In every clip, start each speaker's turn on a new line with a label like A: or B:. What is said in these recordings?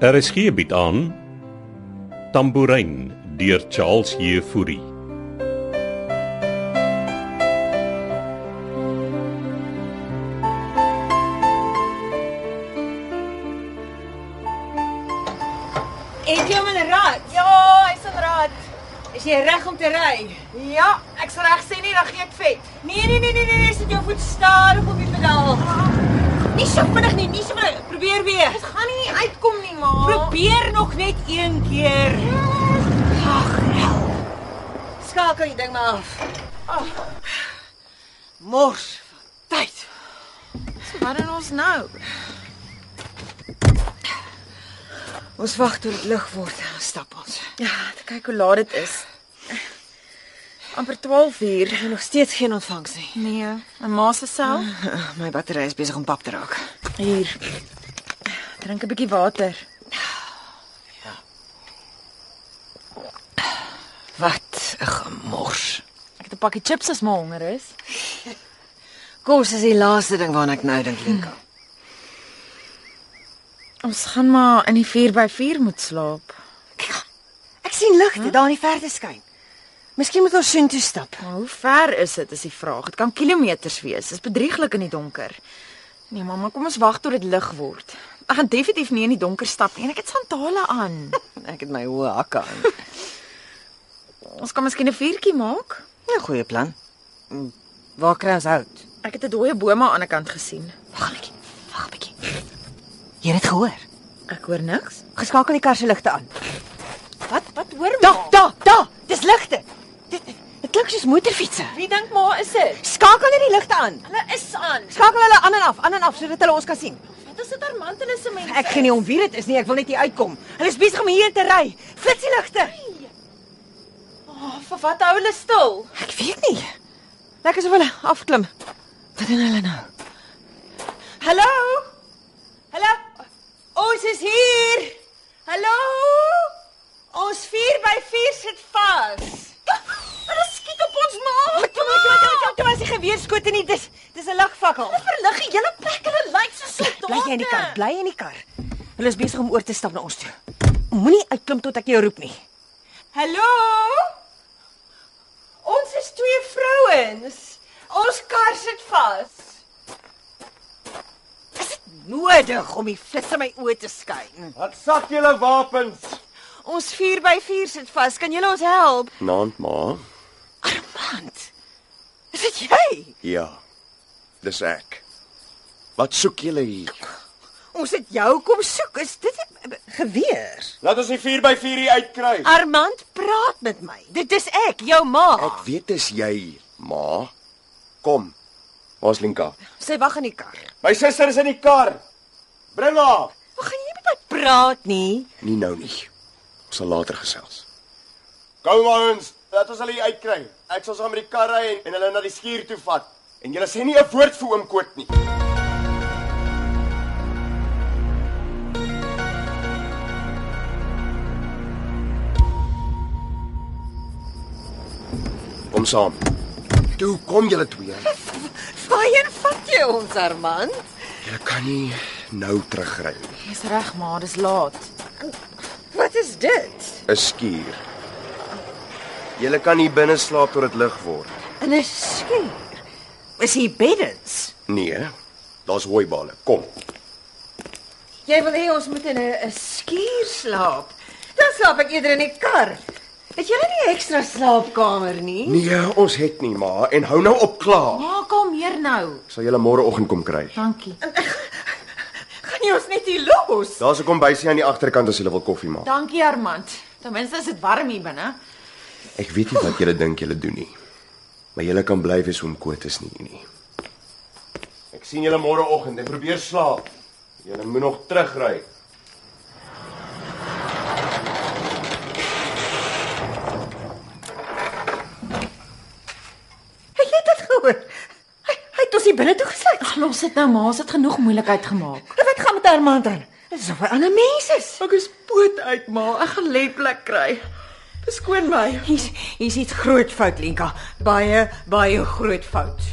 A: RSG bied Er aan Tambourin deur Charles Jefouri.
B: Het jy hom in 'n rad?
C: Ja, hy's in raad.
B: Is jy reg om te ry?
C: Ja, ek's reg sê nie, dan gee ek vet.
B: Nee nee nee nee nee, nee, sit jou voet stadig op die pedaal. Nie so vinnig nie, nie so vinnig. Probeer weer.
C: Dit gaan nie uitkom nie, ma.
B: Probeer nog net een keer. Ag, hel. Skakel die ding maar af.
C: Ag,
B: Mors van tyd.
C: wat doen ons nou?
B: Ons wag tot dit lig word en dan stap ons.
C: Ja, te kyk hoe laat dit is. amper 12 uur.
B: Ek het er nog steeds geen ontvangs nie.
C: Nee, en ma se self.
B: Uh, My battery is besig om pap te raak.
C: Ah, Hier. Drink 'n bietjie water.
B: Wat 'n gemors.
C: Ek het 'n pakkie chips as ma honger is.
B: Kos is die laaste ding waarna ek nou dink, Linka.
C: Ons gaan maar in die 4 by 4 moet slaap.
B: Kyk, Ek sien ligte huh? daar in die verte skyn. Miskien moet ons soontoe stap.
C: Maar hoe ver is dit is die vraag. Dit kan kilometers wees. Dit is bedrieglik in die donker. Nee, mamma, kom ons wag tot dit lig word. Ek gaan definitief nie in die donker stap nie en ek het sandale aan.
B: Ek het my hoë hakke aan.
C: Ons kan miskien 'n vuurtjie maak.
B: 'n Ja, Goeie plan. Mm, Waar kry ons hout?
C: Ek het 'n dooie boom aan die kant gesien.
B: Wag 'n bietjie. Wag 'n bietjie. Jy het dit gehoor.
C: Ek hoor niks.
B: Geskakel die kar se ligte aan.
C: Wat wat hoor
B: Da, da, da. Dis ligte. Dit dit klink soos motorfietsse.
C: Wie dink maar is dit?
B: Skakel net die ligte aan.
C: Hulle is aan.
B: Skakel hulle aan en af, aan en af sodat hulle ons kan sien.
C: Wat is dit Armand en hulle mense?
B: Ek gee nie om wie dit is nie, ek wil net hier uitkom. Hulle is besig om hier te ry. Flits die ligte.
C: oh, vir wat hou hulle stil?
B: Ek weet nie. Lekker asof hulle afklim. Wat doen hulle nou?
C: Hallo? Hallo? Ons is hier. Hallo? Ons 4 by 4 sit vas. Hulle skiet op ons maag.
B: Toe toe toe toe toe as jy geweerskoot en nie dis dis 'n lagvakkel.
C: Hulle verlig die hele plek. Hulle lyk soos soldate.
B: Bly jy in die kar, bly in die kar. Hulle is besig om oor te stap na ons toe. Moenie uitklim tot ek jou roep nie.
C: Hallo? Ons is twee vrouens. Ons kar sit vas.
B: Nodig om die flits in my oë te skyn.
D: Wat sak julle wapens?
C: Ons 4 by 4 sit vas. Kan julle ons help?
D: Naand ma.
B: Armand. Is dit jy?
D: Ja. Dis ek. Wat soek julle hier?
B: Ons het jou kom soek. Is dit 'n geweer?
D: Laat ons die 4 by 4 hier uitkry.
B: Armand praat met my. Dit is ek, jou ma.
D: Ek weet dis jy, ma. Kom. Waar's Linka?
B: Sy wag in die kar.
D: My suster is in die kar. Bring haar.
B: Wat gaan jy nie met my praat nie?
D: Nie nou nie. Ons sal later gesels. Kom ons, laat ons hulle hier uitkry. Ek sal saam met die kar ry en, en hulle na die skuur toe vat. En julle sê nie 'n woord vir oom Koot nie. Kom saam. Toe kom julle twee.
B: Waarheen vat jy ons, Armand?
D: Julle kan nie nou terugry nie.
C: Jy's reg, ma, dis laat.
B: Wat is dit?
D: 'n Skuur. Julle kan nie binne slaap tot dit lig word.
B: 'n Skuur. Is hier beddens?
D: Nee, daar's hooibale. Kom.
B: Jy wil hê ons moet in 'n 'n skuur slaap. Dan slaap ek eerder in die kar. Het jy nie 'n ekstra slaapkamer nie?
D: Nee, ons het nie, ma, en hou nou op klaar.
C: Ma, kom hier nou.
D: Ek sal julle môreoggend kom kry.
C: Dankie.
B: Gaan jy ons net hier los?
D: Daar's 'n kombuisie aan die agterkant as julle wil koffie maak.
C: Dankie Armand. Ten minste is dit warm hier binne.
D: Ek weet nie wat julle dink julle doen nie. Maar julle kan bly wees om koot is nie nie. Ek sien julle môreoggend en probeer slaap. Julle moet nog terugry.
B: Het jy dit gehoor? Hy, hy het ons hier binne toe gesluit. Nou,
C: Ag, los dit nou, ma, ons het genoeg moeilikheid gemaak.
B: Wat gaan met Armand aan? Dit is of hy ander mense is.
C: Ek is poot uit, ma. Ek gaan lê plek kry. Beskoon my.
B: Hier's hier's iets groot fout, Lenka. Baie baie groot fout.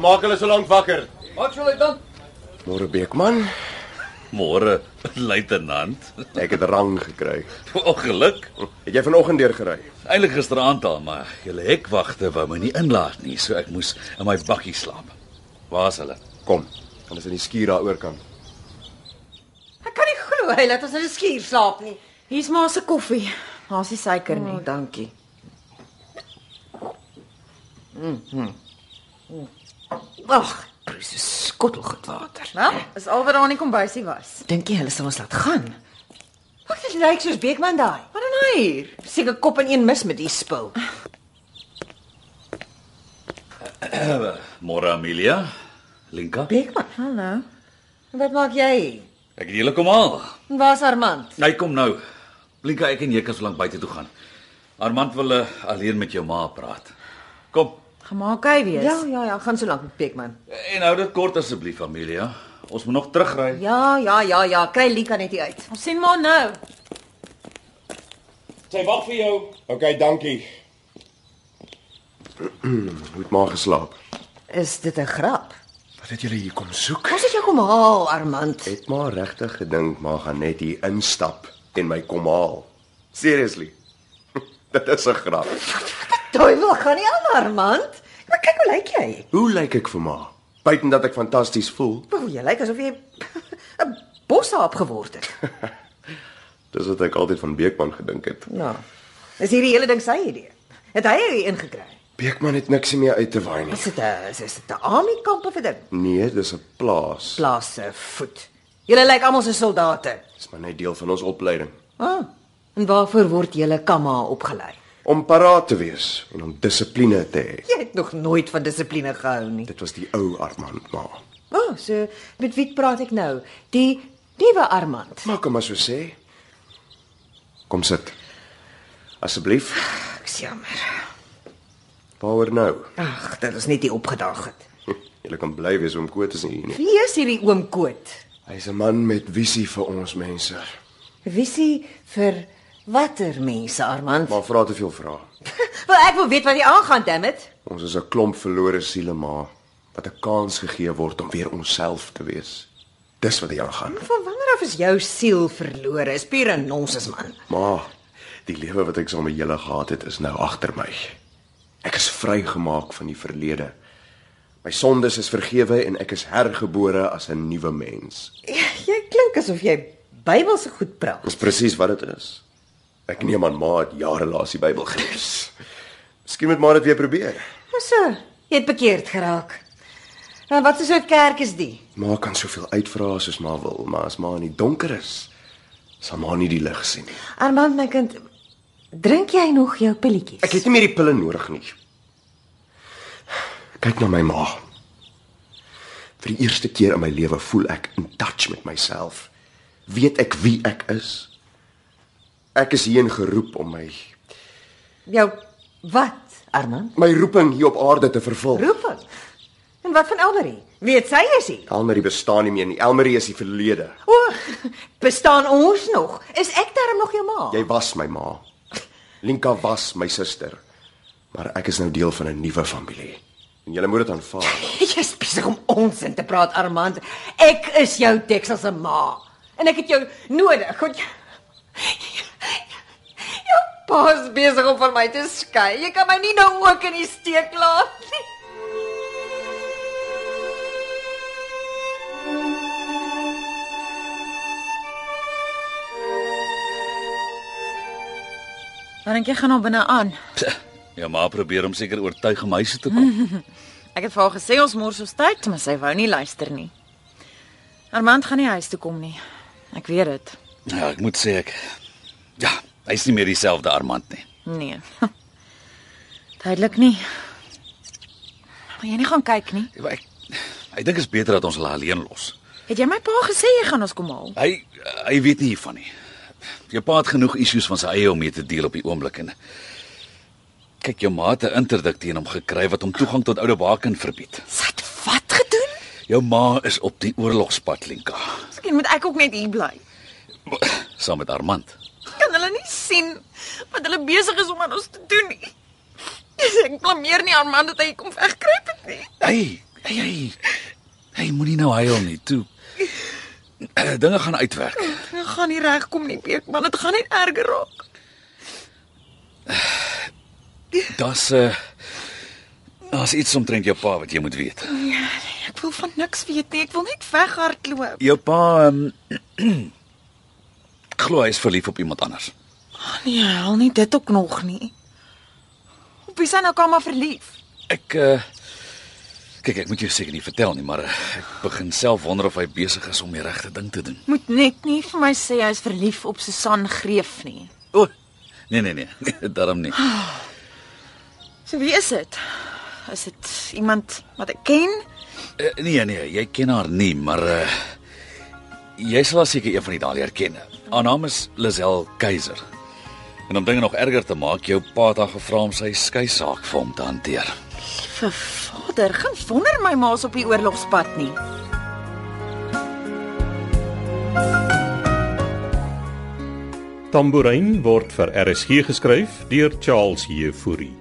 D: maak hulle so lank wakker.
E: Wat sal hy dan?
D: Môre Beekman,
E: Môre, luitenant.
D: ek het rang gekry. Hm.
E: Ongeluk.
D: Het jy vanoggend deur gery?
E: Eilik gisteraand al, maar julle hekwagte wou my nie inlaat nie, so ek moes in my bakkie slaap. Waar's hulle?
D: Kom, hulle is in die skuur daar oorkant.
B: Ek kan nie glo hy laat ons in 'n skuur slaap nie. Mm.
C: Hier's maar se koffie. Daar's nie suiker nie.
B: dankie. Mm,
C: Ag,
B: Prys Mm. so skottelgoed water.
C: wel, is al wat daar in die kombuisie was.
B: Dink jy hulle sal ons laat gaan? Wat dit lyk soos Beekman daai.
C: Wat dan nou hier?
B: Seker kop in een mis met die spul.
E: Môre Amelia. Linka.
B: Beekman,
C: Hallo.
B: wat maak jy? hier?
E: Ek het julle kom haal.
B: En Waar's Armand?
E: Hy kom nou. Linka, ek en jy kan so lank buite toe gaan. Armand wil eh, alleen met jou ma praat. Kom.
C: Gemaak hy wees.
B: ja, ja, gaan so lank met Beekman.
E: En hou dit kort asseblief, Amelia. Ons moet nog terugry.
B: Ja, ja, ja, ja, kry Lika net hier uit.
C: Ons sien maar nou.
D: Sy wag vir jou. OK, dankie. Moet maar geslaap.
B: Is dit 'n grap?
D: Wat het julle hier kom soek?
B: Ons het jou kom haal, Armand.
D: Het maar regtig gedink maar gaan net hier instap en my kom haal. Seriously. Dit is 'n grap.
B: Duiwel, gaan nie aan Armand. Maar kyk hoe lyk jy?
D: Hoe lyk ek vir ma? Buiten dat ek fantasties voel,
B: Wel, jy lyk asof jy 'n boshaap geword het.
D: dis wat ek altyd van Beekman gedink het.
B: Nou. Is hierdie hele ding sy idee? Het hy hierdie ingekry?
D: Beekman het niks meer uit te waai nie.
B: Is dit 'n is, is dit 'n army kamp of 'n ding?
D: Nee, dis 'n plaas.
B: Plaas se voet. Julle lyk almal soos soldate.
D: Dis maar net deel van ons opleiding
B: Ah. En waarvoor word julle kamma opgelei?
D: om paraat te wees en om dissipline te hê.
B: Jy het nog nooit van dissipline gehou nie.
D: Dit was die ou Armand ma.
B: O, oh, so met wie praat ek nou? Die nuwe Armand.
D: Maak hom maar so sê. Kom sit. Asseblief.
B: Ek is jammer.
D: Waaroor nou?
B: Ag, dit is net nie opgedag het.
D: Jy kan bly wees om Koot is nie hier nie.
B: Wie is hierdie oom Koot?
D: Hy's 'n man met visie vir ons mense.
B: Wie is hy vir watter mense, Armand?
D: Maar vra te veel vrae.
B: Wel, ek wil weet wat hier aangaan, dammit.
D: Ons is 'n klomp verlore siele maar wat 'n kans gegee word om weer onsself te wees. Dis wat hier aangaan.
B: Van wanneer af is jou siel verlore? Is pure nonsens, man.
D: Maar die lewe wat ek saam met julle gehad het, is nou agter my. Ek is vrygemaak van die verlede. My sondes is vergewe en ek is hergebore as 'n nuwe mens.
B: Jy, Ja, jy klink asof jy Bybelse goed praat.
D: Dis presies wat dit is. Ek neem aan ma het jare lank die Bybel gelees. Miskien moet maar dit weer probeer.
B: So, jy het bekeerd geraak. En wat is soort kerk is die?
D: Ma kan soveel uitvra soos ma wil, maar as ma in die donker is, sal ma nie die lig sien nie.
B: Armand, my kind, drink jy nog jou pilletjies?
D: Ek het nie meer die pille nodig nie. Kyk na my ma. Vir die eerste keer in my lewe voel ek in touch met myself. Weet ek wie ek is. Ek is hierheen geroep om my
B: jou wat, Armand?
D: my roeping hier op aarde te vervul.
B: Roeping. En wat van Elmarie? Weet sy is hy?
D: Elmarie bestaan nie meer nie. Elmarie is die verlede.
B: O, bestaan ons nog? Is ek darm nog jou ma?
D: Jy was my ma. Linka was my suster. Maar ek is nou deel van 'n nuwe familie. En jy moet dit aanvaar.
B: Jy's besig om onsin te praat, Armand. Ek is jou Texas se ma en ek het jou nodig. Goed. Jou pa's besig om van my te skei. Jy kan my nie nou ook in die steek laat nie.
C: Dan dink jy gaan nou binne aan.
E: Ja, maar probeer hom seker oortuig om huis toe te kom.
C: Ek het vir haar gesê ons mors ons tyd, maar sy wou nie luister nie. Armand gaan nie huis toe kom nie. Ek weet dit.
E: Ja, ek moet sê ek ja, hy's nie meer dieselfde Armand nie.
C: Nee. Duidelik nie. Maar jy nie gaan kyk nie.
E: Ja, maar Ek ek dink dit is beter dat ons hulle alleen los.
C: Het jy my pa gesê jy gaan ons kom haal?
E: Hy hy weet nie hiervan nie. Jou pa het genoeg issues van sy eie om mee te deel op die oomblik en kyk jou ma het 'n interdik teen hom gekry wat hom toegang tot Oude Baken verbied.
C: Sy het wat gedoen?
E: Jou ma is op die oorlogspad, Lenka,
C: Miskien moet ek ook net hier bly.
E: saam met Armand.
C: Kan hulle nie sien wat hulle besig is om aan ons te doen nie? Ek blameer nie Armand dat hy kom wegkruip het nie.
E: Hey, Hey, hey. Hey, moenie nou huil nie. Toe. Eh, Dinge gaan uitwerk.
C: Dit gaan nie regkom nie, Beekman. Dit gaan net erger raak.
E: Das uh Daar's iets omtrent jou pa wat jy moet weet.
C: Ja, nee, ek wil van niks weet nie. Ek wil net weghardloop.
E: Jou pa um, glo hy is verlief op iemand anders.
C: Oh, nee, hel nie dit ook nog nie. Op wie sy nou kan maar verlief.
E: Ek uh kyk, ek moet jou seker nie vertel nie, maar uh, ek begin self wonder of hy besig is om die regte ding te doen.
C: Moet net nie Nee, vir my sê hy's verlief op Susan Greef nie.
E: O. Oh, nee nee nee, daarom nie.
C: So wie is dit? Is dit iemand wat ek ken?
E: Uh, nee nee, jy ken haar nie, maar uh jy sal haar seker een van die daai herken. Haar naam is Lisel Keiser. En om dinge nog erger te maak, jou pa het haar gevra om sy skei saak vir hom te hanteer.
C: Liewe vader, geen wonder my ma's op die oorlogspad nie.
A: Tambourin word vir RSG geskryf deur Charles Heffury.